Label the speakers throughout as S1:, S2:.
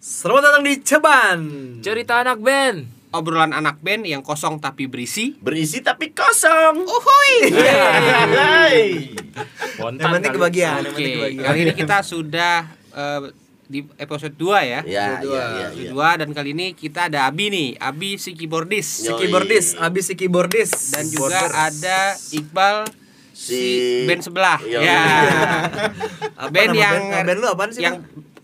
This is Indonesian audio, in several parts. S1: Selamat datang di Ceban.
S2: Cerita anak band.
S3: Obrolan anak band yang kosong tapi berisi.
S4: Berisi tapi kosong.
S3: Uhuy.
S4: Yeay.
S1: Yang penting kebagian, yang penting
S3: Oke,
S1: kebagian.
S3: kali ini kita sudah eh, di episode 2 ya.
S4: Ya, ya, ya,
S3: Episode
S4: ya.
S3: 2 dan kali ini kita ada Abi nih, Abi si keyboardis
S1: Si keyboardis, abis si keyboardis
S3: dan juga
S1: Keyboarder.
S3: ada Iqbal si
S4: Si-
S3: band sebelah.
S4: Yo,
S3: ya.
S1: Apa
S3: band
S1: nama
S3: yang
S1: band? Nama band lu apaan sih,
S3: Yang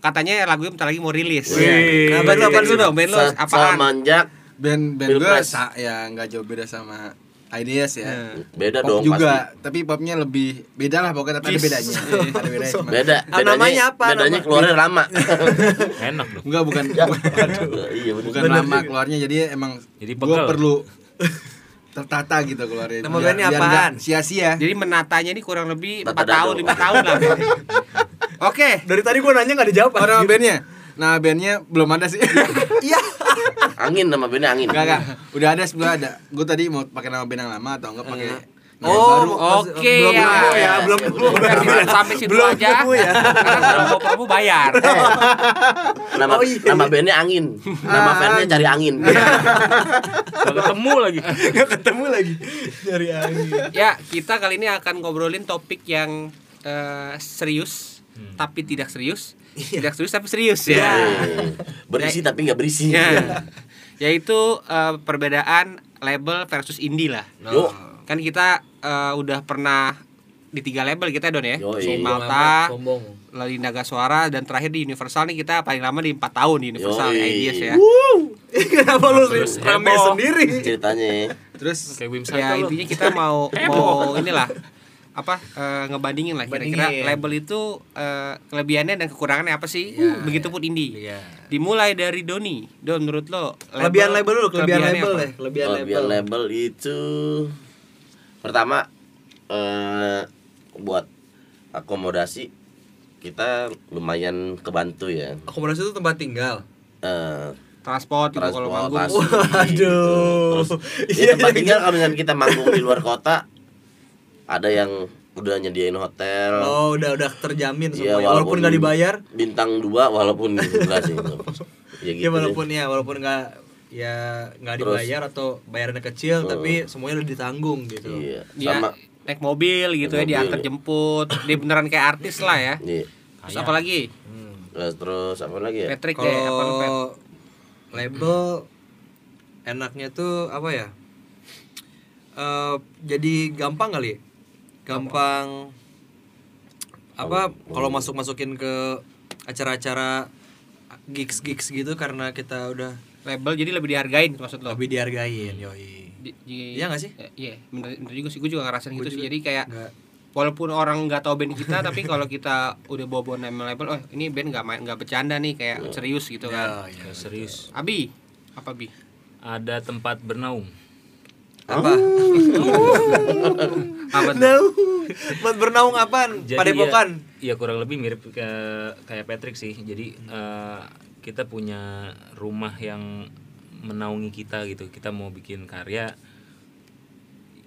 S3: katanya lagunya bentar lagi mau rilis.
S1: Wih.
S3: Nah, band lu apaan sih
S1: Wih.
S3: dong? Band lu
S4: Sa-
S3: apaan?
S4: Samanjak
S5: band band
S4: Bill
S5: gue
S4: Price.
S5: sa ya nggak jauh beda sama ideas ya
S4: beda
S5: pop
S4: dong
S5: juga tapi popnya lebih beda lah pokoknya tapi ada
S3: Yes.
S5: bedanya ada bedanya
S4: pasti.
S5: cuma
S4: Beda.
S1: Ah, namanya apa?
S4: Bedanya
S1: Nama-
S4: keluarnya lama.
S2: Enak dong.
S5: enggak bukan
S4: Iya Ya. bener.
S5: bukan lama keluarnya jadi emang
S2: Jadi
S5: gue
S2: pegel.
S5: perlu tertata gitu keluarnya
S1: Nama
S5: Biar-
S1: bandnya
S5: biar
S1: apaan?
S5: nggak sia-sia
S3: Jadi menatanya ini kurang lebih
S4: Tata
S3: 4 tahun,
S4: dado.
S3: 5 tahun lah. Oke.
S1: Dari tadi gua nanya nggak dijawab.
S5: oh, nama bandnya nah bandnya belum ada sih nggak
S1: Iya.
S4: Angin nama bandnya angin.
S5: nggak udah ada sebelum ada gue tadi mau pakai nama band yang lama atau enggak pakai nama
S1: Oh,
S5: baru.
S1: mas-
S3: Oke,
S1: belum
S3: ya.
S1: nemu ya, belum nemu.
S3: Sampai situ
S1: Belum
S3: aja.
S1: nemu ya.
S3: Karena kalau mau promo bayar.
S4: Nama
S1: Oh, iya.
S4: nama bandnya angin. Nama fansnya cari angin. Iya.
S2: Gak ketemu lagi.
S1: Nggak ketemu lagi. Dari angin.
S3: Ya, kita kali ini akan ngobrolin topik yang eh, serius
S1: Hmm.
S3: tapi tidak serius.
S1: Iya.
S3: Tidak serius tapi serius ya.
S4: Eh, Berisi tapi nggak berisi.
S1: Iya.
S3: Ya. Yaitu eh, perbedaan label versus indie lah.
S1: Nah.
S4: Yo.
S3: Kan kita eh, udah pernah di tiga label kita Don ya.
S1: iya.
S4: Yoi.
S3: Si
S2: Sombong
S3: Malta,
S2: amat, sombong.
S3: lalu di Naga Suara dan terakhir di Universal nih kita paling lama di 4 tahun di Universal
S4: Yoi.
S1: iya.
S3: Ideas ya.
S1: Kenapa lu
S2: Terus
S1: rame
S2: heboh.
S1: sendiri?
S4: Ceritanya.
S5: terus
S2: Kayak Wim
S3: ya
S2: Saito lu.
S3: intinya kita mau mau inilah apa eh, ngebandingin lah kira-kira
S1: Bandingin.
S3: label itu eh, kelebihannya dan kekurangannya apa sih? Uh, Begitupun indie.
S2: Iya.
S3: Dimulai dari Doni. Don menurut lo
S1: Kelebihan label dulu, kelebihan
S3: kelebihannya
S1: label
S3: apa?
S1: deh, kelebihan
S4: Oh,
S1: label.
S4: biar label itu pertama eh buat akomodasi kita lumayan kebantu ya
S1: Akomodasi itu tempat tinggal.
S4: eh
S3: Transport, gitu kalau manggung.
S4: transportasi gitu.
S1: Waduh.
S4: Terus,
S1: Iya,
S4: ya, tempat
S1: iya,
S4: tinggal kalau misalnya kita manggung di luar kota ada yang udah nyediain hotel
S1: Oh, udah udah terjamin
S4: Iya,
S1: semuanya. walaupun nggak dibayar,
S4: bintang dua walaupun enggak sih itu. ya
S1: ya
S4: gitu deh.
S1: walaupun ya walaupun nggak ya nggak
S4: Terus.
S1: dibayar atau bayarnya kecil, tapi semuanya udah ditanggung gitu.
S4: iya
S3: Dia
S4: sama
S3: naik mobil gitu
S4: Naik
S3: ya, diantar
S4: mobil.
S3: jemput. Dia beneran kayak artis lah ya.
S4: iya.
S3: Terus apa lagi?
S4: Terus- terus apa lagi
S1: Iya.
S4: ya
S3: Patrick deh, apa lu, Pat?
S1: Kalau label enaknya tuh apa ya? Eh, jadi gampang kali. ya? Gampang apa kalau masuk-masukin ke acara-acara gigs-gigs gitu karena kita udah
S3: Label jadi lebih dihargain maksud lo?
S1: lebih dihargain, yoi.
S3: Di- di-
S1: Iya nggak sih?
S3: Ya, Iya, bener, bener juga sih. Gue juga ngerasain gitu sih. Jadi kayak
S1: Nggak.
S3: walaupun orang nggak tahu band kita, tapi kalau kita udah bawa bawa nama label, oh ini band nggak main nggak bercanda nih, kayak
S2: Iya.
S3: serius gitu
S1: Ya,
S3: kan.
S1: ya.
S2: Ya, serius.
S3: Abi, apa bi?
S2: Ada tempat bernaung.
S4: Ah.
S1: Apa?
S3: Apa tuh?
S1: No. Buat bernaung apaan?
S2: Jadi
S1: Padepokan.
S2: Ya, ya kurang lebih mirip ke- kayak Patrick sih. Jadi eh, kita punya rumah yang menaungi kita gitu. Kita mau bikin karya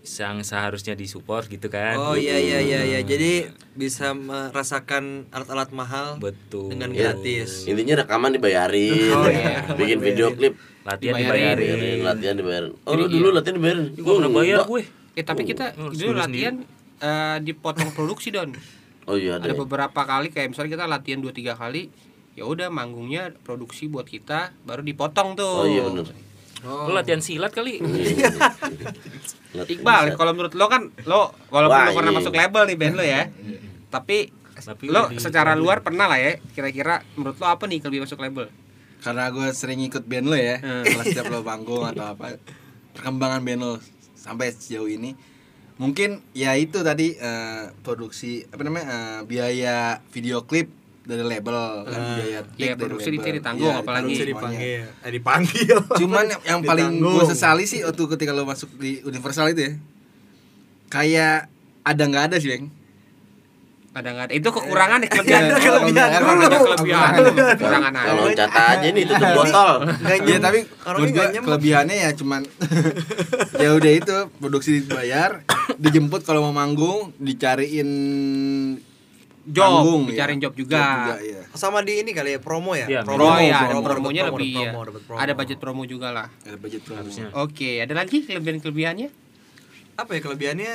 S2: yang seharusnya disupport gitu kan.
S1: Oh iya iya iya iya. Jadi bisa merasakan alat-alat mahal
S2: Betul.
S1: dengan
S4: Iya.
S1: gratis.
S4: Intinya rekaman dibayarin,
S1: Oh, iya.
S4: bikin video klip,
S2: Latihan
S3: Dibayarin.
S4: dibayarin,
S2: dibayarin.
S4: Iya,
S2: Oh, iya,
S4: latihan dibayarin. Oh, lu dulu latihan dibayarin. Oh,
S2: Gue pernah
S1: Iya.
S2: bayar gue.
S3: Eh tapi kita
S2: Oh,
S3: dulu
S2: serius
S3: latihan eh, dipotong produksi don.
S4: Oh iya ada.
S3: Ada beberapa kali kayak misalnya kita latihan dua tiga kali, ya udah manggungnya produksi buat kita, baru dipotong tuh.
S4: Oh iya benar.
S1: Oh.
S2: Lu latihan silat kali.
S1: Iya,
S3: Iqbal, kalau menurut lo kan lo walaupun
S4: Wah,
S3: lo pernah
S4: iya.
S3: masuk label nih band lo ya, tapi,
S2: Tapi
S3: lo
S2: udah di-
S3: secara luar pernah lah ya. Kira-kira menurut lo apa nih kalau masuk label?
S5: karena gue sering ikut band lo ya
S3: Hmm.
S5: kalau setiap lo panggung atau apa perkembangan band lo sampai sejauh ini mungkin ya itu tadi eh, produksi apa namanya eh, biaya video klip dari label kan
S3: iya,
S5: biaya take dari
S3: produksi
S5: label.
S3: di- ditanggung
S5: Iya,
S3: apalagi.
S5: ditanggung
S1: Bisa
S3: Bisa
S5: semuanya.
S1: dipanggil. Eh dipanggil.
S5: cuman yang- yang paling gue
S1: Ditanggung.
S5: sesali sih waktu ketika lo masuk di universal itu ya kayak ada nggak ada sih bang
S3: Ada nggak ada? Itu kekurangan ya kelebihan.
S5: Iya,
S3: kelebihan.
S5: kelebihan
S3: Kekurangan
S5: dulu.
S3: kelebihan.
S5: Kekurangan.
S3: Kekurangan
S4: Kalau
S3: aja.
S4: cat aja nih tutup botol.
S1: Orang
S5: Iya tapi menurut
S1: ini nggak
S5: gua
S1: nyem-
S5: kelebihannya ya cuman ya udah itu produksi dibayar, dijemput kalau mau manggung, dicariin
S3: job,
S5: Panggung,
S3: bicarain
S5: ya.
S3: job juga.
S5: iya.
S1: sama di ini kali ya promo ya,
S2: Iya,
S3: Promo,
S5: Promo,
S3: ya,
S5: promo,
S3: ada promonya
S1: dapat
S3: lebih
S1: dapat
S3: ya.
S1: promo, dapat promo.
S3: Ada budget promo juga lah.
S5: Ada budget promo.
S2: Harusnya.
S3: Oke, ada lagi kelebihan-kelebihannya?
S1: apa ya kelebihannya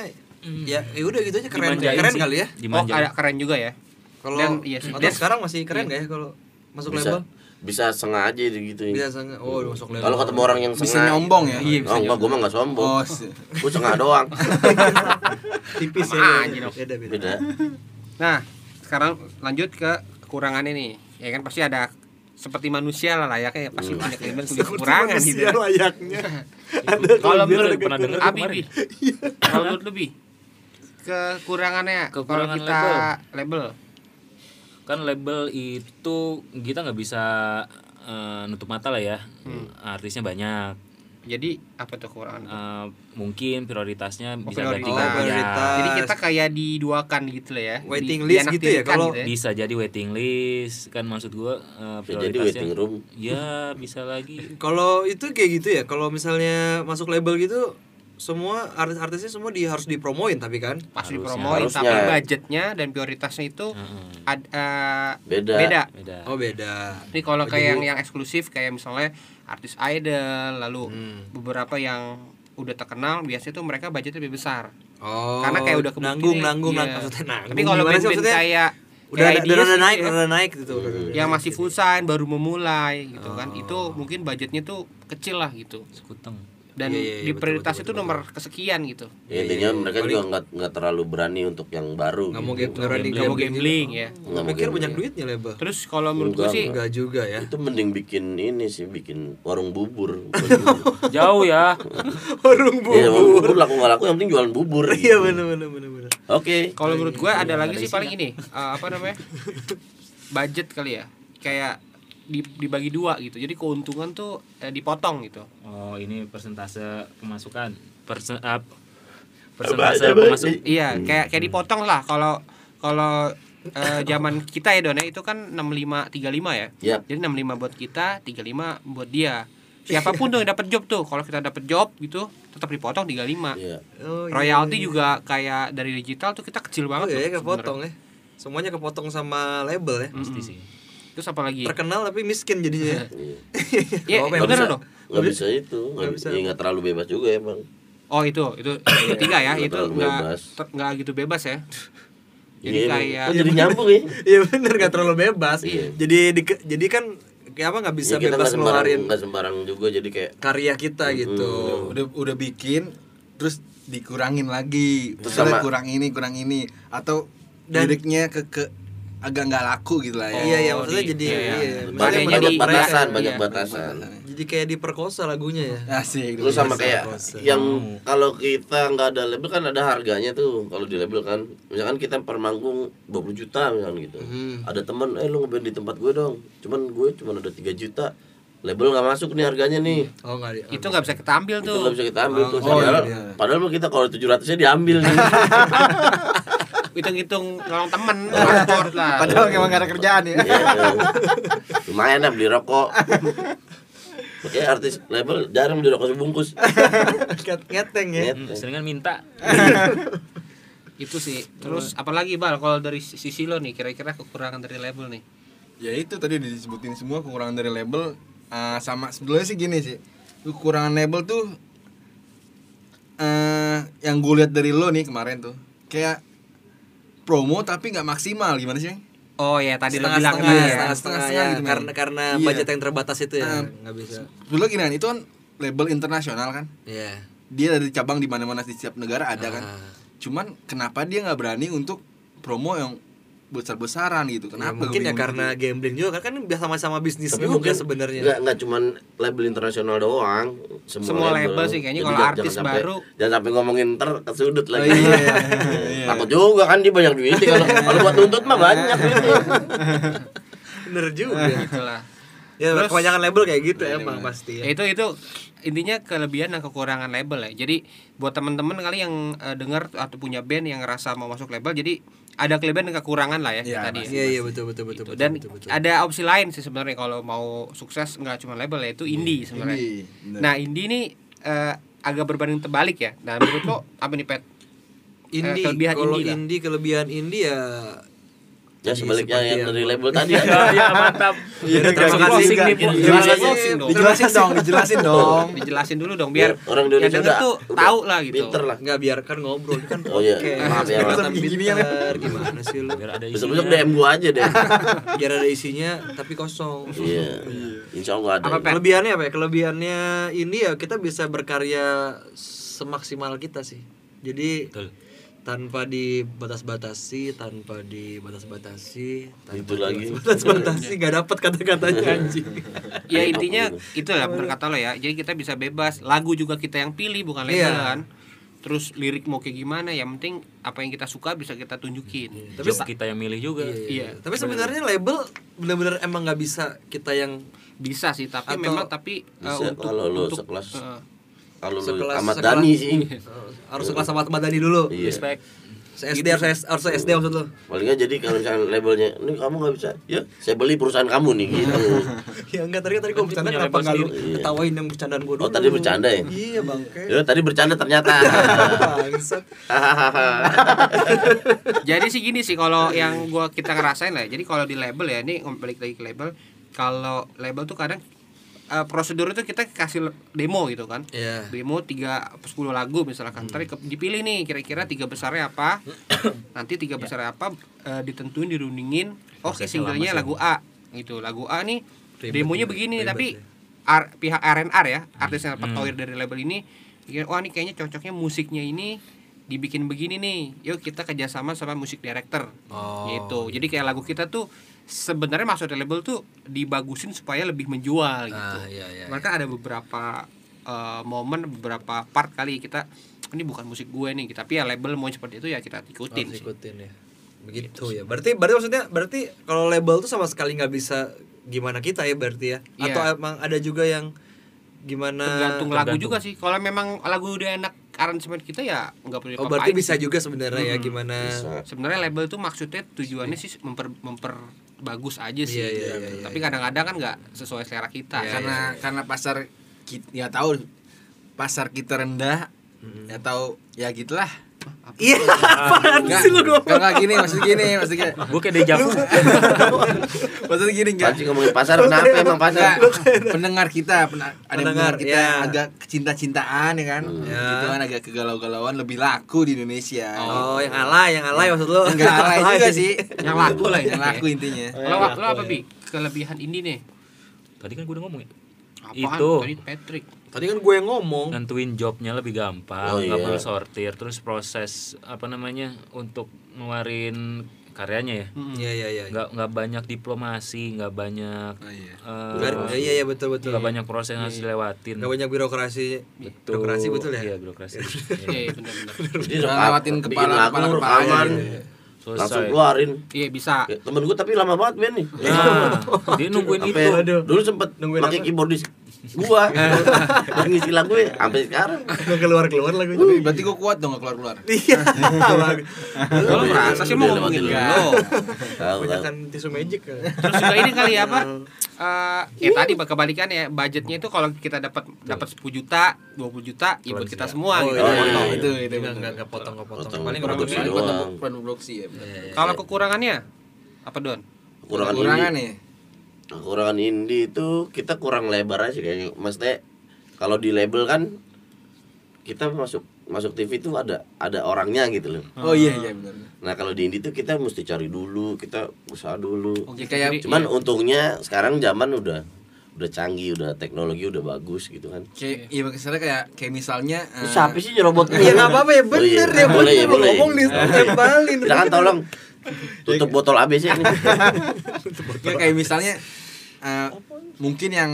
S1: ya ya udah gitu aja keren
S2: Dimanjain
S1: keren
S2: sih.
S1: kali ya
S3: Oh,
S2: Dimanjain.
S3: ada keren juga ya.
S1: kalau
S3: Dan, iya sih.
S1: atau
S3: Dan-
S1: sekarang masih keren nggak ya kalau masuk
S4: bisa
S1: label
S4: bisa sengaja gitu
S1: bisa sangat oh masuk label
S4: kalau ketemu orang yang
S5: Bisa
S4: sengaja
S5: nyombong ya?
S4: iya, bisa oh, enggak, gue mah nggak sombong
S5: Oh, si-
S4: gue setengah doang
S1: tipis ya
S3: Sama aja
S1: beda
S3: dong.
S1: beda, beda.
S4: beda
S3: Nah, sekarang lanjut ke kekurangannya nih. Ya kan pasti ada seperti manusia lah layaknya ya, pasti punya kelebihan punya kekurangan gitu.
S1: Manusia layaknya ada
S2: Kalau
S1: kelebihan,
S2: menurut
S1: ada
S2: lu pernah dengar
S3: Abi,
S2: kemarin?
S3: Bi. kalau menurut lebih kekurangannya kalau
S2: Kekurangan
S3: kita label.
S2: kan label itu kita nggak bisa eh, nutup mata lah ya artisnya banyak
S3: Jadi apa tuh kekurangan?
S2: Eh, mungkin prioritasnya
S3: Oh,
S2: bisa
S3: prioritas.
S2: ganti-ganti.
S1: Oh, prioritas.
S3: Jadi kita kayak diduakan gitu lah ya.
S1: Waiting
S3: Di-
S1: list gitu ya,
S3: dianak-dianikan
S1: kalau-
S2: Ya.
S3: gitu ya.
S2: bisa jadi waiting list kan maksud gua eh,
S4: ya, jadi
S2: prioritasnya
S4: waiting room
S2: ya bisa lagi
S1: Kalau itu kayak gitu ya, kalau misalnya masuk label gitu semua artis-artisnya semua di, harus dipromoin tapi kan.
S3: pas
S2: Harusnya.
S3: dipromoin tapi
S4: Harusnya.
S3: budgetnya dan prioritasnya itu
S2: Heeh,
S3: ad- eh,
S4: Beda.
S3: beda.
S2: beda
S1: Oh beda.
S3: Ini Iya.
S1: Oh,
S3: kalau
S1: Jadi-
S3: kayak yang yang eksklusif kayak misalnya artis idol lalu
S1: Hmm.
S3: beberapa yang udah terkenal biasanya tuh mereka budgetnya lebih besar
S1: Oh.
S3: karena kayak udah kebukti
S1: nanggung
S3: nih,
S1: nanggung
S3: iya.
S1: nang- maksudnya nanggung.
S3: tapi kalau
S1: Gimana sih
S3: band-band
S1: maksudnya? udah
S3: kayak kayak
S1: ada, udah,
S3: Ideas
S1: udah
S3: gitu
S1: naik,
S3: ya, Iya.
S1: udah naik gitu.
S3: yang masih full sign baru memulai gitu kan
S1: Oh.
S3: itu mungkin budgetnya tuh kecil lah gitu
S2: sekuteng
S3: dan
S1: Iya, iya, iya,
S3: di
S1: betul,
S3: prioritas
S1: betul,
S3: itu nomor kesekian gitu
S4: Ya, intinya mereka juga nggak nggak terlalu berani untuk yang baru
S1: nggak mau
S4: gitu.
S1: game, nggak berani
S3: nggak mau gambling ya
S4: Nggak mau
S1: Pikir
S4: gambling.
S1: banyak duitnya label.
S3: terus kalau menurut gue
S4: Enggak,
S3: sih
S1: Enggak juga ya.
S4: itu mending bikin ini sih bikin warung bubur
S2: jauh ya
S1: Warung
S4: Iya, warung
S1: bubur.
S4: bubur laku nggak laku yang penting jualan bubur
S1: Iya
S4: gitu.
S1: benar benar benar benar.
S4: oke
S3: Kalau menurut gua
S1: Iya,
S3: ada lagi sih paling ini eh, apa namanya budget kali ya kayak di- dibagi dua gitu jadi keuntungan tuh eh, dipotong gitu
S2: oh ini persentase pemasukan Persen, ah, persentase pemasukan
S3: iya
S1: Hmm,
S3: kayak kayak dipotong lah kalau kalau eh, zaman kita ya Don ya, itu kan 65 35 ya
S1: Iya.
S4: Yap.
S3: jadi 65 buat kita 35 buat dia siapapun tuh yang dapat job tuh kalau kita dapat job gitu tetap dipotong 35
S4: Iya.
S1: Oh, iya.
S3: royalti juga kayak dari digital tuh kita kecil
S1: Oh
S3: banget
S1: iya,
S3: loh
S1: kepotong ya. Semuanya kepotong sama label ya.
S2: pasti sih
S3: sebenarnya. terus apa lagi
S1: Terkenal tapi miskin jadinya.
S4: Iya.
S3: Iya,
S1: apa yang
S4: nggak
S3: bener
S4: bisa
S3: loh
S4: nggak bisa itu nggak
S1: bisa.
S4: bisa ya, nggak terlalu bebas juga emang
S3: Oh itu itu ketiga ya
S4: Nggak
S3: itu
S4: Iya, terlalu
S3: nggak
S4: bebas.
S3: ter- nggak gitu bebas ya. Jadi
S4: Iya,
S3: kayak
S4: kan jadi nyambung ya
S1: Iya bener gak terlalu bebas.
S4: Iya.
S1: Jadi dike- jadi kan kayak apa nggak bisa
S4: Ya, kita
S1: bebas
S4: nggak sembarang
S1: ngeluarin
S4: nggak sembarang juga jadi kayak
S1: karya kita gitu.
S5: udah udah bikin terus dikurangin lagi.
S4: Terus
S5: Terus
S4: sama-
S5: kurang ini, kurang ini atau
S1: Dan-
S5: liriknya ke ke agak nggak laku gitu lah ya.
S1: iya iya
S3: Oh,
S1: maksudnya
S3: di-
S1: jadi
S3: iya, iya.
S1: iya.
S3: Banyak
S1: Maksudnya
S4: banyak,
S3: jadi-
S1: menurut
S4: banyak
S1: mereka-
S4: batasan
S3: iya.
S4: banyak batasan
S1: Jadi kayak diperkosa lagunya ya.
S5: Asik.
S4: lu sama
S5: Asik.
S4: kayak yang kalau kita nggak ada label kan ada harganya tuh kalau di label kan misalkan kita per manggung 20 juta misalkan gitu ada teman eh lu ngeband di tempat gue dong cuman gue cuman ada 3 juta label nggak masuk nih harganya nih
S1: Oh enggak di.
S3: itu nggak bisa kita ambil
S4: iya. itu
S3: tuh.
S4: nggak bisa kita ambil tuh
S5: Oh,
S4: padahal
S5: iya.
S4: padahal mah kita kalau 700 nya diambil nih
S3: Hitung-hitung nolong temen, transport lah.
S5: Padahal emang gak ada kerjaan ya.
S4: Iya. lumayan lah beli rokok Oke artis label jarang beli rokok sebungkus
S3: Ah,
S1: Nget- ngeteng ya.
S3: iya.
S4: Net.
S2: Hmm, seringan minta
S3: Itu sih. Terus apalagi bal kalau dari sisi lo nih kira-kira kekurangan dari label nih.
S5: ya itu tadi udah disebutin semua kekurangan dari label Eh, sama sebelumnya sih gini sih lu kekurangan label tuh eh yang gue lihat dari lo nih kemarin tuh kayak promo tapi nggak maksimal gimana sih Yang?
S3: Oh ya tadi lo bilang
S1: setengah,
S3: tadi ya.
S1: setengah, setengah,
S5: Setengah-setengah
S1: ya.
S5: gitu, men.
S1: karena karena
S5: Iya.
S1: budget yang terbatas itu ya
S5: Ah.
S1: nggak bisa.
S5: dulu gini kan itu kan label internasional kan
S1: Iya.
S5: dia dari cabang di mana-mana di setiap negara ada kan
S1: Ah.
S5: cuman kenapa dia nggak berani untuk promo yang besar-besaran gitu
S1: Ya,
S5: kenapa
S1: mungkin
S5: gua
S1: ya
S5: bingung
S1: karena gambling juga kan kan biasa sama-sama bisnis
S4: tapi
S1: juga
S4: mungkin nggak
S1: sebenarnya.
S4: nggak cuman label internasional doang semua,
S3: Semua label sih, kayaknya kalau
S4: jangan-
S3: artis
S4: jangan sampai-
S3: baru.
S4: jangan sampai ngomongin ter ke sudut
S5: gitu.
S4: lagi
S5: Oh, iya, iya.
S4: takut juga kan dia banyak duit kalau kalau buat tuntut mah banyak
S1: Bener juga.
S3: Itulah.
S1: ya
S3: Terus-
S1: kebanyakan label kayak gitu emang pasti ya.
S3: Ya, itu itu intinya kelebihan dan kekurangan label ya. Jadi buat teman-teman kali yang eh, dengar atau punya band yang ngerasa mau masuk label, jadi ada kelebihan dan kekurangan lah ya,
S5: Iya,
S3: tadi. ya.
S1: Iya iya betul betul betul
S3: Gitu.
S1: betul.
S3: dan
S1: betul, betul.
S3: ada opsi lain sih sebenarnya kalau mau sukses nggak cuma label ya itu indie sebenarnya.
S5: Ini, bener.
S3: Nah indie ini eh, agak berbanding terbalik ya. Nah menurut lo apa nih pet? Eh,
S1: Indie,
S3: kelebihan
S1: kalau
S3: indie lah.
S1: indie kelebihan indie ya
S4: Ya sebaliknya
S1: seperti
S4: yang
S1: yang-
S4: dari label kan tadi
S2: Iya, iya, mantap.
S1: Iya,
S2: terima
S1: terima
S2: kasih
S1: kasih,
S2: nih, Bu.
S4: gitu.
S1: Kak.
S2: Terima
S1: Terima
S2: kasih.
S1: kasih.
S5: dijelasin dong, dijelasin dong.
S3: dijelasin dulu dong biar
S4: orang
S3: yang
S4: Indonesia
S3: denger
S4: udah-
S3: tuh
S4: udah
S3: tahu lah gitu
S4: Pinter lah.
S1: Enggak biarkan ngobrol ini kan.
S4: Oh, iya.
S1: podcast.
S4: Maaf ya, Mas.
S1: Kelihatan
S5: Gini ya,
S1: pintar. Gimana sih lu?
S2: Biar ada
S4: Besok
S2: isinya.
S4: besok DM gua aja deh.
S1: Biar ada isinya tapi kosong.
S4: Iya. Insya Allah ada.
S3: Apa, Pe?
S1: Kelebihannya apa ya? Kelebihannya ini ya kita bisa berkarya semaksimal kita sih. Jadi
S2: Betul.
S1: tanpa dibatas-batasi, tanpa dibatas-batasi, tanpa
S4: Itu lagi.
S1: dibatas-batasi
S2: Iya.
S1: nggak dapat kata-katanya anjing.
S3: ya intinya
S1: gitu.
S3: itu lah berkata lo ya jadi kita bisa bebas lagu juga kita yang pilih bukan
S1: Iya.
S3: label kan terus lirik mau kayak gimana yang penting apa yang kita suka bisa kita tunjukin
S2: Tapi kita yang milih juga.
S1: Iya. Tapi sebenarnya label benar-benar emang nggak bisa kita yang
S3: bisa sih tapi
S1: Atau-
S3: memang tapi eh,
S4: Bisa
S3: untuk
S4: kalau lo
S3: untuk
S4: sekelas
S3: eh,
S4: kalau lu
S1: sekelas-
S4: Ahmad
S1: sekelas-
S4: Dhani sih.
S1: eh, harus kelas sama teman Dani dulu.
S4: Iya.
S2: Respect. Gitu.
S1: Se SD harus se- harus se- SD maksud lo.
S4: Palingnya jadi kalau misalnya labelnya, ini kamu nggak bisa, ya saya beli perusahaan kamu nih gitu.
S1: Ya enggak tadi tadi gua bercanda
S2: punya
S1: kenapa
S2: label
S1: enggak lu
S4: sendiri. Iya.
S1: ketawain yang bercandaan gua dulu.
S4: Oh, tadi bercanda ya?
S1: Iya, Bangke.
S4: ya tadi bercanda ternyata.
S1: Bangsat.
S3: jadi sih gini sih kalau yang gua kita ngerasain lah ya. jadi kalau di label ya ini ngom- balik lagi ke label kalau label tuh kadang eh, prosedur itu kita kasih le- demo gitu kan
S1: Iya.
S3: demo 3 10 lagu misalkan Ntar ke- dipilih nih kira-kira tiga besarnya apa nanti tiga
S1: Iya.
S3: besarnya apa eh, ditentuin dirundingin oh
S2: Prosesnya
S3: singlenya
S2: lama sih.
S3: lagu A gitu lagu A nih
S1: Ribet
S3: demonya
S1: juga,
S3: begini
S1: ribet Hmm.
S3: tapi
S1: ya.
S3: R- pihak R&R ya artis yang dapat toir dari label ini pikir, wah ini kayaknya cocoknya musiknya ini dibikin begini nih yuk kita kerjasama sama musik director
S1: Oh.
S3: gitu jadi kayak lagu kita tuh sebenarnya maksudnya label tuh dibagusin supaya lebih menjual gitu
S1: Ah, iya, iya,
S3: mereka ada beberapa eh, momen beberapa part kali kita ini bukan musik gue nih tapi ya label mau seperti itu ya kita ikutin
S1: Harus
S3: sih.
S1: ikutin ya. Begitu ya. Berarti berarti maksudnya berarti kalau label tuh sama sekali nggak bisa gimana kita ya berarti ya.
S3: Iya.
S1: Atau emang ada juga yang gimana
S3: tergantung lagu juga sih kalau memang lagu udah enak aransemen kita ya nggak perlu
S1: Oh, berarti
S3: diapa-apain
S1: bisa juga sebenarnya ya gimana.
S3: sebenarnya label tuh maksudnya tujuannya sih memper memperbagus aja
S1: Iya,
S3: sih
S1: iya, iya,
S3: gitu.
S1: iya,
S3: tapi kadang-kadang kan nggak sesuai selera kita
S5: karena karena pasar kita ya tahu pasar kita rendah ya tahu ya gitulah
S1: Iya, apaan sih lu gua?
S5: kalau nggak gini maksud gini maksud gini
S2: Gue kayak deja vu.
S5: maksud gini enggak
S4: Panci ngomongin pasar, kenapa emang pasar?
S5: pendengar kita pena- ada
S1: Pendengar,
S5: pendengar kita
S1: iya.
S5: agak kecinta-cintaan ya kan
S1: Ya.
S5: gitu kan agak kegalau-galauan lebih laku di Indonesia
S1: Oh, yang alay, yang alay maksud lu.
S5: enggak alay juga sih
S3: yang laku
S1: ya.
S3: lah
S5: yang
S3: yang
S5: laku intinya
S3: lo, lo apa bi kelebihan ini nih
S2: Tadi kan gue udah ngomong ya.
S3: apaan
S2: Itu.
S3: tadi Patrick
S1: Tadi kan gue yang ngomong.
S2: nentuin jobnya lebih gampang,
S4: Oh,
S2: nggak
S4: iya.
S2: perlu sortir, terus proses apa namanya untuk ngeluarin karyanya ya,
S1: Iya, iya, iya.
S2: nggak nggak banyak diplomasi, nggak banyak,
S5: Oh, iya.
S2: eh,
S1: Nggak- Iya, iya, betul, betul.
S2: nggak banyak proses yang harus dilewatin.
S1: Gak banyak birokrasi.
S2: Betul.
S1: Birokrasi betul ya?
S2: Iya birokrasi. Iya.
S3: iya iya, benar-benar
S4: Jadi
S5: Jangan
S4: rekam-
S5: lewatin
S4: bikin
S5: kepala-
S4: lagu,
S5: kepala- kepala
S4: rekaman,
S5: aja, iya.
S2: Selesai.
S4: langsung keluarin.
S3: iya bisa
S4: Ya, Temen gue tapi lama banget Ben nih. ya?
S2: Nah, dia nungguin
S4: Sampai
S2: itu.
S4: dulu sempet
S1: Nungguin
S4: pakai
S1: apa?
S4: keyboardis gua yang ngisi lagu ya sampai sekarang
S1: Gak keluar-keluar lagunya.
S5: Tapi berarti gue kuat dong nggak keluar-keluar
S1: Iya. bagus.
S3: lo merasa sih mau
S4: Udah
S3: ngomongin
S4: lewatin
S3: lo
S4: Tahu, tahu.
S1: Kebanyakan tisu magic. kali.
S3: terus juga ini kali ya apa
S1: Iya.
S3: Eh, ya tadi kebalikan ya budgetnya itu kalau kita dapat dapat 10 juta 20 juta ya buat kita
S1: Oh,
S3: semua gitu.
S4: iya, iya.
S5: itu itu
S1: Enggak enggak enggak potong-potong.
S4: Potong
S1: Paling
S4: potong
S1: kurang
S4: produksi
S1: lebih
S4: doang.
S5: produksi ya benar.
S1: Iya,
S3: kalau kekurangannya apa don
S4: Kekurangan ini.
S1: Iya.
S5: kurangan nih
S4: Nah, kekurangan indie itu kita kurang lebar aja kayaknya. Maksudnya kalau di label kan kita masuk masuk TV itu ada ada orangnya gitu loh.
S5: oh iya iya benar
S4: Nah kalau di indie tuh kita mesti cari dulu, kita usaha dulu.
S3: Oke,
S5: Kayak-
S3: jadi-
S4: Cuman untungnya sekarang zaman udah udah canggih, udah teknologi udah bagus gitu kan.
S5: kayak iya misalnya kayak kayak misalnya eh,
S4: Siapa sih nyerobot gue?
S1: Iya enggak apa-apa Nah. ya
S4: Oh, iya.
S1: bener ya
S4: Boleh,
S1: bener
S4: ya,
S1: Lu
S4: boleh.
S1: ngomong di Ya. tembalin.
S4: Silakan tolong tutup botol ABC ini.
S5: Nggak, iya, kayak misalnya eh, mungkin yang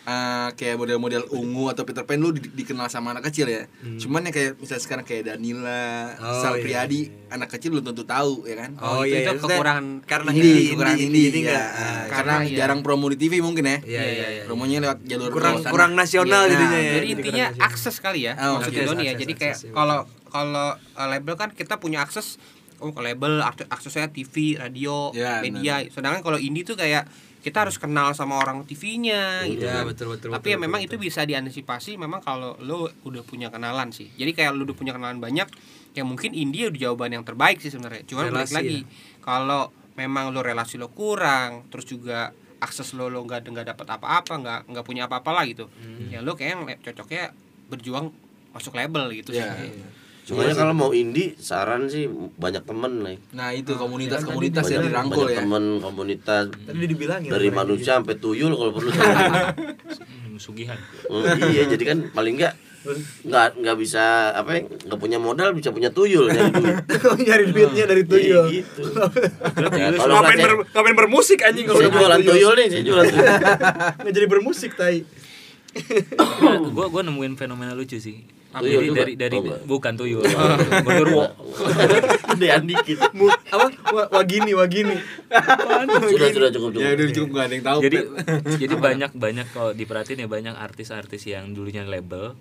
S5: eh, kayak model-model ungu atau Peter Pan lu di- dikenal sama anak kecil ya. Cuman yang kayak misalnya sekarang kayak Danila,
S1: Hmm. Oh,
S5: Sal
S1: iya,
S5: Priadi, anak kecil belum tentu tahu ya kan.
S1: Oh ya,
S3: itu-
S1: iya,
S3: itu
S1: maksudnya
S3: kekurangan
S1: karena
S5: Indie,
S1: ini
S5: kekurangan
S1: ini
S5: indie,
S1: ini
S5: iya.
S1: enggak.
S5: Eh,
S1: Ah,
S5: karena
S3: Karena iya.
S5: jarang promo di TV mungkin ya.
S1: Iya iya iya.
S5: Promonya lewat jalur
S1: Kurang
S5: bawah
S1: kurang
S5: sana.
S1: nasional
S5: Iya.
S1: jadinya ya.
S3: jadi intinya
S1: kurang nasional.
S3: akses kali ya
S5: Oh,
S3: maksudnya
S1: akses,
S3: Doni ya
S1: akses,
S3: jadi
S1: akses,
S3: kayak
S1: iya.
S3: kalau kalau uh, label kan kita punya akses oh ke label akses- aksesnya TV radio
S1: Iya,
S5: Ya,
S3: media sedangkan kalau indie tuh kayak kita harus kenal sama orang TV-nya gitu
S1: Iya,
S3: kan.
S1: betul, betul,
S3: tapi
S1: betul,
S3: ya memang
S1: betul,
S3: itu bisa diantisipasi memang kalau lo udah punya kenalan sih jadi kayak lo udah punya kenalan banyak ya mungkin India udah jawaban yang terbaik sih sebenarnya cuman balik
S1: Relasi
S3: lagi kalau memang lo relasi lo kurang terus juga akses lo lo nggak nggak dapat apa-apa nggak nggak punya apa-apa lah gitu
S1: Hmm.
S3: ya lo kayak yang le- cocoknya berjuang masuk label gitu
S5: Iya.
S3: sih
S4: Cuma ya kalau mau indie saran sih banyak temen lah.
S5: Nah itu komunitas-komunitas yang
S4: Ah, iya. Banyak,
S5: dirangkul
S4: banyak
S5: ya.
S4: temen komunitas
S1: Tadi udah
S5: Iya,
S1: dibilangin
S4: dari
S1: sama dia.
S4: manusia sampai tuyul kalau perlu. Hmm,
S2: Hmm, Sugihan.
S4: iya jadi kan paling enggak nggak nggak bisa apa ya nggak punya modal bisa punya tuyul nyari duit.
S1: nyari duitnya dari tuyul.
S4: Iya, gitu. Ya, tolonglah,
S1: ngapain,
S4: saya-
S1: ber, ngapain bermusik anjing kalau
S4: saya
S1: udah
S4: jualan tuyul nih saya jualan tuyul
S1: Ah, Nggak jadi bermusik tai.
S2: gue gue nemuin fenomena lucu sih.
S4: Tuyul
S2: Jadi
S4: juga?
S2: dari dari
S4: Oh, iya. enggak.
S2: bukan tuyul. Gondorwo.
S4: Dean dikit
S1: Mu, apa? Wa, wagini, wagini.
S4: sudah sudah cukup cukup
S5: Ya udah cukup gak ada yang tahu.
S2: jadi jadi banyak banyak kalau diperhatiin ya banyak artis-artis yang dulunya label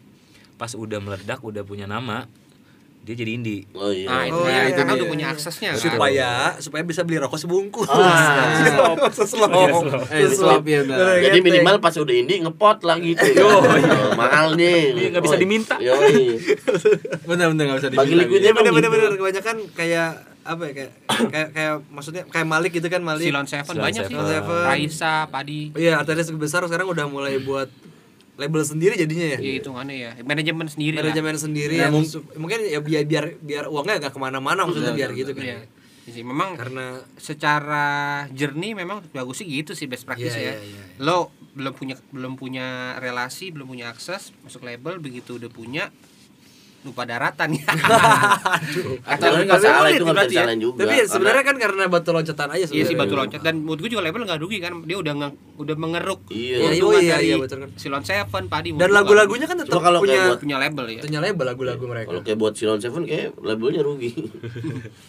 S2: pas udah meledak udah punya nama dia jadi indie
S4: oh iya
S3: nah itu,
S1: Oh,
S3: ya,
S1: iya,
S3: karena
S1: iya.
S3: udah punya aksesnya kan.
S1: supaya supaya bisa beli rokok sebungkus.
S4: Ah. Iya,
S1: Seslop, seslop. Iya,
S5: Eh, slop ya udah.
S1: Bener,
S4: jadi
S1: geteng.
S4: minimal pas udah indie ngepot lah gitu oh, mahal nih
S2: Iya, nggak bisa
S4: Oi.
S2: diminta.
S4: Yoi.
S5: Bener-bener gak bisa
S4: Bagi
S5: dibilang.
S4: liquid
S5: ya.
S1: Iya bener bener bener kebanyakan kayak apa ya kayak kayak kayak maksudnya kayak Malik gitu kan Malik.
S3: Silon Seven
S2: Silon
S3: banyak
S2: Seven.
S3: sih
S1: Seven.
S3: Raisa Padi
S1: Iya artis besar sekarang udah mulai buat label sendiri jadinya ya.
S3: ya
S4: Iya,
S3: hitungannya ya manajemen sendiri lah. Iya.
S1: Manajemen sendiri
S5: Nah,
S1: yang
S5: mung-
S1: sup- mungkin ya biar biar biar uangnya nggak kemana-mana maksudnya biar gitu kan.
S3: Iya. Jadi memang
S1: Karena
S3: secara jernih memang bagus sih gitu sih best practice
S1: Iya,
S3: ya.
S1: iya, iya,
S3: Lo belum punya belum punya relasi, belum punya akses, masuk label begitu udah punya lupa daratan ya.
S4: atau nggak salah itu nggak
S3: berarti ya.
S4: bisa disalahin juga
S1: tapi
S4: karena-
S1: sebenarnya kan karena batu loncatan aja
S3: Iya sih
S1: sebenarnya.
S3: batu loncat dan menurut gue juga label nggak rugi kan dia udah nge- udah mengeruk
S4: Iya.
S3: keuntungan
S1: Iya, iya,
S3: dari
S1: iya, betul kan.
S3: Silon Seven, Padi
S1: Dan
S3: menurut gua
S1: lagu-lagunya kan tetap
S4: Cuma kalau kayak
S1: punya
S4: buat- Iya.
S3: punya label ya.
S1: punya label lagu-lagu mereka.
S4: kalau kayak buat Silon Seven kayak labelnya rugi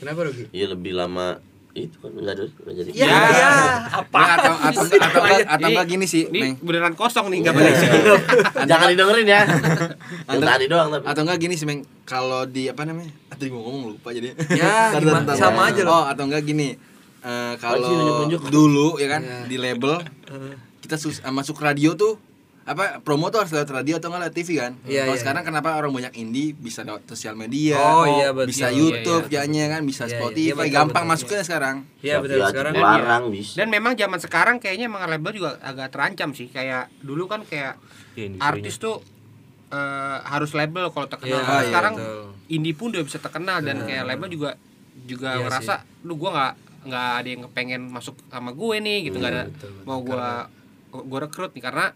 S1: Kenapa rugi?
S4: iya lebih lama itu kan nggak ada nggak jadi
S1: Iya, iya.
S5: Nah, atau atau atau atau- atau nggak gini sih, Neng.
S3: Ini beneran kosong nih nggak boleh.
S4: jangan didengerin ya yang
S5: Atau-
S4: tadi doang tapi
S5: Atau enggak gini sih, Meng. Kalau di apa namanya? Atau gua ngomong lupa jadi.
S1: Ya,
S5: Ntar,
S1: gimana-
S5: ntar, ntar.
S1: sama aja loh.
S5: Oh, atau enggak gini. eh,
S4: Wajib
S5: kalau
S4: nunjuk-nunjuk.
S5: dulu ya kan
S1: Iya.
S5: di label kita sus- eh, masuk radio tuh apa promo tuh harus lewat radio atau enggak lewat TV kan?
S1: Iya,
S5: kalau
S1: iya.
S5: sekarang kenapa orang banyak indie bisa lewat sosial media,
S1: Oh, iya, betul.
S5: bisa
S1: Iya,
S5: YouTube
S1: iya,
S5: jadinya kan, bisa
S1: Iya, iya.
S5: Spotify,
S1: Iya, betul,
S5: gampang
S1: betul,
S5: masuknya sekarang.
S1: Iya betul
S4: Tapi
S1: sekarang kan ya.
S4: larang bisa
S3: Dan memang zaman sekarang kayaknya emang label juga agak terancam sih. Kayak dulu kan kayak
S2: Iya, industrinya.
S4: Ah.
S3: artis tuh eh, harus label kalau terkenal.
S1: Iya,
S3: Nah,
S5: iya,
S3: sekarang
S1: betul.
S3: indie pun udah bisa terkenal dan kayak label juga juga
S1: Iya
S3: ngerasa, lu gua nggak nggak ada yang pengen masuk sama gue nih
S1: Iya,
S3: gitu nggak ada mau gua gua rekrut nih karena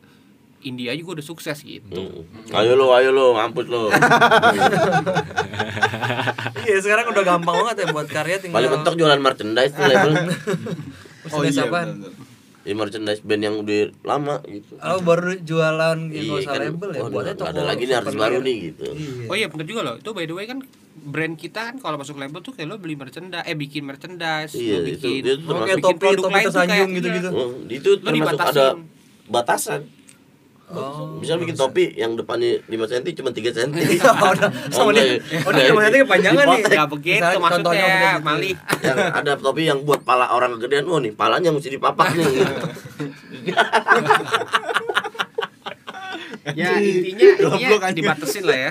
S3: India juga udah sukses gitu.
S4: Mm. Ayo lo, ayo lo, mampus lo.
S1: Iya, sekarang udah gampang banget ya buat karya tinggal.
S4: Paling mentok jualan merchandise tuh label.
S1: Oh, iya,
S5: bener, bener.
S4: Ya merchandise band yang udah lama gitu.
S1: Oh, baru jualan yang nggak
S4: Iya
S1: usah
S4: kan,
S1: label ya.
S4: oh,
S1: Buatnya
S4: nggak ada
S1: toko
S4: lagi nih artis
S1: souvenir.
S4: baru nih gitu.
S1: Iya.
S3: Oh iya bener juga loh. Itu by the way kan brand kita kan kalau masuk label tuh kayak lo beli merchandise, eh bikin merchandise,
S4: Iya,
S3: lo
S4: itu-
S3: bikin
S4: itu
S3: lo
S4: termasuk-
S1: Kayak
S3: bikin
S1: topi-
S3: produk
S1: topi
S3: lain tuh
S1: tersanjung
S3: kayak-
S1: gitu-gitu.
S3: iya.
S4: Oh, itu
S3: Lo
S4: termasuk
S3: dibatasin.
S4: ada batasan.
S1: Oh.
S4: Bisa bikin topi yang depannya 5 cm cuma 3 cm.
S1: Oh, udah. sama dia. Oh,
S4: Nah,
S1: dia
S3: Iya,
S1: maksudnya kepanjangan nih.
S3: Nggak Ya, begitu
S1: Misalnya contohnya bukan
S3: maksudnya,
S1: gitu.
S3: Mali.
S4: yang ada topi yang buat pala orang kegedean, oh nih palanya mesti dipapak nih. gitu.
S3: ya intinya
S5: Goblok
S3: intinya
S5: aja.
S3: dibatasin lah ya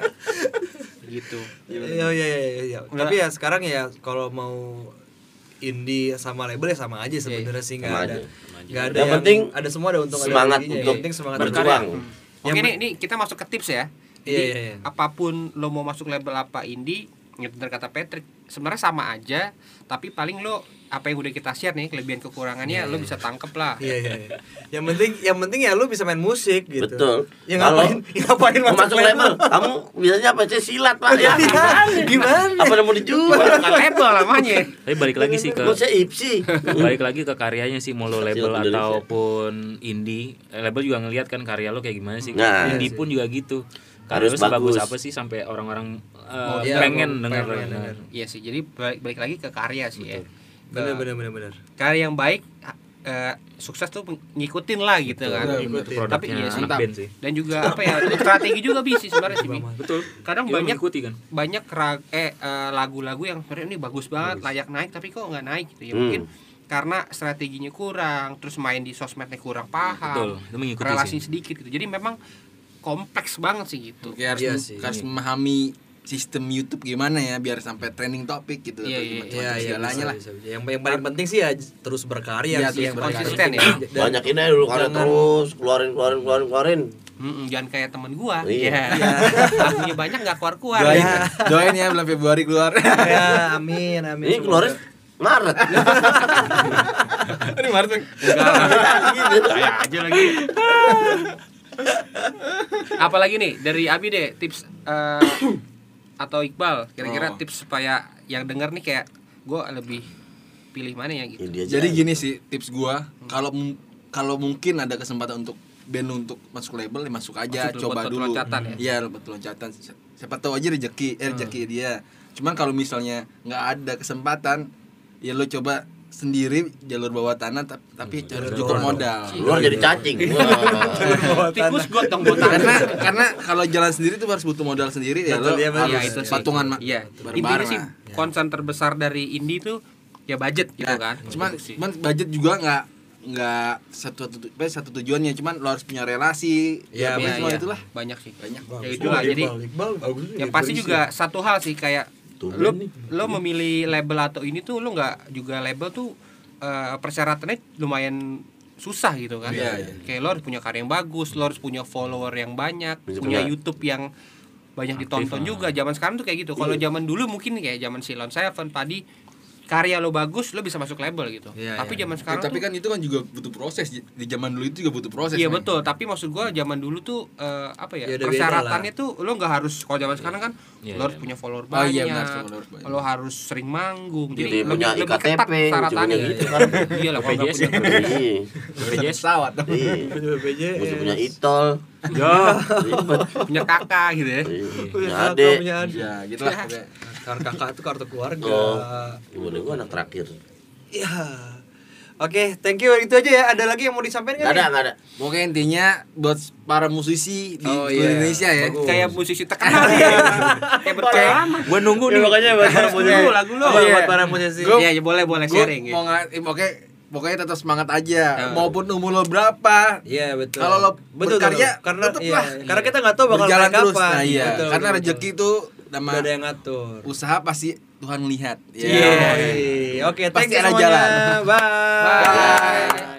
S3: gitu
S1: Iya iya iya iya, iya. Tapi ya sekarang ya kalau mau indie sama label ya sama aja sebenarnya sih nggak
S4: Iya, Sama
S1: ada.
S4: aja.
S1: Nggak ada
S4: Yang
S1: yang,
S4: penting
S1: ada semua ada untung ada
S4: semangat
S1: ruginya.
S4: untuk
S1: Yang penting semangat
S4: berjuang.
S1: berkarya.
S3: Hmm. oke nih nih kita masuk ke tips ya
S1: Iya,
S3: Jadi,
S1: iya, iya.
S3: apapun lo mau masuk label apa indie ya bener kata Patrick sebenarnya sama aja tapi paling lo apa yang udah kita share nih kelebihan kekurangannya lo bisa tangkep lah
S1: Iya iya iya. Yang penting yang penting ya lu bisa main musik gitu.
S4: Betul.
S1: Ya
S4: Kalau
S1: ngapain ya ngapain
S4: Mau masuk label, kamu biasanya apa sih silat pak ya?
S1: Iya, Gimana?
S4: Apa yang mau dijual?
S3: bukan label namanya
S2: tapi balik lagi sih ke
S4: Mau saya ipsi.
S2: balik lagi ke karyanya sih mau lo label
S4: Indonesia.
S2: ataupun indie eh, label juga ngelihat kan karya lo kayak gimana sih
S4: Nah.
S2: indie pun juga gitu karya
S4: Harus
S2: lo sebagus
S4: bagus.
S2: apa sih sampai orang-orang eh,
S3: Oh,
S1: iya,
S2: pengen
S1: mau-
S2: denger
S1: pengen
S2: nah.
S1: denger.
S3: iya sih jadi balik, balik lagi ke karya sih ya
S1: Bener bener bener bener.
S3: karya yang baik eh, sukses tuh ngikutin lah gitu kan
S1: Ikutin.
S2: produknya
S3: Tapi iya sih.
S2: anak band sih
S3: dan juga apa ya strategi juga bisa sebenarnya sih Bi.
S2: betul
S3: kadang
S2: Kita
S3: banyak
S2: mengikuti kan
S3: banyak ra- eh eh, lagu-lagu yang sebenarnya ini bagus banget layak naik tapi kok nggak naik gitu ya
S4: Hmm.
S3: mungkin karena strateginya kurang terus main di sosmednya kurang
S2: betul
S3: paham
S2: itu mengikuti
S3: Ah, relasi
S2: sih
S3: sedikit gitu jadi memang kompleks banget sih gitu
S5: Kayak harus,
S1: Iya sih.
S5: harus memahami sistem YouTube gimana ya biar sampai trending topik gitu
S3: Iya, iya,
S5: atau
S1: Iya,
S5: gimana,
S1: iya,
S5: macam segalanya
S1: bisa,
S5: lah.
S1: bisa, bisa. Yang, yang paling penting sih ya j- terus berkarya sih
S5: Iya, terus
S1: yang paling
S5: berkarya.
S3: Konsisten ya.
S1: penting. Dan-
S4: Banyak ini dulu karya
S1: jangan-
S4: terus, keluarin keluarin keluarin keluarin.
S3: Mm-mm, jangan kayak temen gua.
S4: Iya.
S3: Lagunya banyak nggak keluar-keluar.
S5: Doain, doain ya bulan Februari keluar.
S1: Ya, amin, amin.
S4: Ini keluarin Maret.
S5: Ini Maret.
S3: Kayak aja lagi. Apalagi nih dari Abi deh tips eh, atau Iqbal kira-kira
S5: Oh.
S3: tips supaya yang denger nih kayak gua lebih pilih mana ya gitu.
S4: Ini dia
S5: Jadi
S4: aja.
S5: gini sih tips gua, kalau mu- kalau mungkin ada kesempatan untuk band lu untuk masuk label ya masuk aja
S3: Masuk dulu,
S5: coba
S3: buat
S5: dulu.
S3: loncatan ya? Hmm.
S5: Iya, buat loncatan. Si- Siapa tahu aja rezeki, eh, rezeki dia. Cuman kalau misalnya nggak ada kesempatan, ya lu coba sendiri jalur bawah tanah tap- tapi
S1: Iya,
S5: harus cukup modal.
S4: Keluar jadi
S1: gitu.
S4: cacing. Wah.
S3: Tikus gotong botak.
S5: karena karena kalau jalan sendiri tuh harus butuh modal sendiri ya
S1: Betul,
S5: lo
S1: iya, betul.
S5: harus
S3: Iya, itu sih.
S5: patungan mak
S3: Iya,
S5: Iya.
S3: intinya
S5: bareng
S3: sih concern terbesar dari indie tuh ya budget gitu kan.
S5: cuman
S3: Produksi.
S5: cuman budget juga nggak nggak satu satu, apa ya, satu tujuannya cuman lo harus punya relasi
S1: Iya,
S5: ya,
S3: Iya,
S5: semua
S3: iya,
S5: itulah
S3: banyak sih.
S5: banyak
S3: Ya itulah jadi
S1: Iya,
S3: yang pasti juga satu hal sih kayak
S4: Tumben
S3: lo
S4: nih.
S3: lo memilih label atau ini tuh lo nggak juga label tuh eh, persyaratannya lumayan susah gitu kan
S5: Iya, iya.
S3: kayak lo harus punya karya yang bagus lo harus punya follower yang banyak
S4: Bisa
S3: punya
S4: punya.
S3: YouTube yang banyak
S2: lah.
S3: ditonton juga zaman sekarang tuh kayak gitu kalau zaman dulu mungkin kayak zaman Silon Seven tadi karya lo bagus lo bisa masuk label gitu
S1: Iya,
S3: tapi
S1: iya.
S3: zaman sekarang
S5: tapi
S3: tuh-
S5: kan itu kan juga butuh proses di zaman dulu itu juga butuh proses
S3: Iya
S5: Mang.
S3: betul, tapi maksud gua zaman dulu tuh eh, apa ya?
S1: Ya udah beda
S3: persyaratannya tuh lo nggak harus kalau zaman sekarang kan
S2: Iya,
S3: lo harus
S2: iya.
S3: punya follower
S5: Oh,
S3: banyak.
S5: iya, benar, followers banyak.
S3: Lo harus sering manggung.
S4: Jadi punya
S3: lebih
S4: IKTP,
S3: ketat
S4: cuma
S3: persyaratannya
S4: punya gitu
S3: gitu
S4: kan.
S3: kan. Iya lah kalau nggak
S2: BPJS.
S3: punya.
S4: Iya.
S2: BPJS.
S5: pesawat dong.
S4: Iya. Mesti punya itol.
S1: Iya.
S2: Ya.
S4: Ribet.
S3: punya kakak gitu ya.
S4: Iya. Punya
S1: punya
S4: adek.
S1: punya adik.
S5: ya
S1: Iya.
S5: gitulah pokoknya.
S1: Karena kakak itu kartu keluarga.
S4: Oh. Gimana gua anak terakhir.
S1: Ya. Oke, thank you. Itu aja ya. Ada lagi yang mau disampaikan?
S4: Gak ada,
S1: nggak nih?
S4: gak ada.
S5: pokoknya intinya buat para musisi di
S1: Oh,
S5: seluruh
S1: iya.
S5: Indonesia ya
S1: Bagus. Ya,
S3: Kayak musisi terkenal ya. Kayak berlama.
S2: Gua nunggu nih.
S1: buat para musisi.
S3: lagu lo.
S1: Apa,
S5: Iya.
S1: Buat para musisi.
S5: Gua-
S3: Iya, ya boleh boleh
S5: Gua
S3: sharing. ya.
S5: mau nggak eh, pokoknya pokoknya tetap semangat aja
S3: Ya.
S5: maupun umur lo berapa
S1: Iya betul.
S5: Kalau lo
S1: betul, betul.
S5: berkarya,
S1: karena
S5: tetep
S1: iya,
S5: lah.
S1: karena kita nggak tahu bakal
S5: berjalan
S1: naik
S5: terus
S1: kapan.
S5: nah, iya
S1: Betul,
S5: karena
S1: betul,
S5: rezeki
S1: betul.
S5: itu nama
S1: Nggak ada yang ngatur.
S5: usaha pasti Tuhan lihat Ya.
S1: Iya. Oke, thank
S5: Pasti
S1: you
S5: ada
S1: semuanya.
S5: jalan.
S1: Bye.
S3: Bye.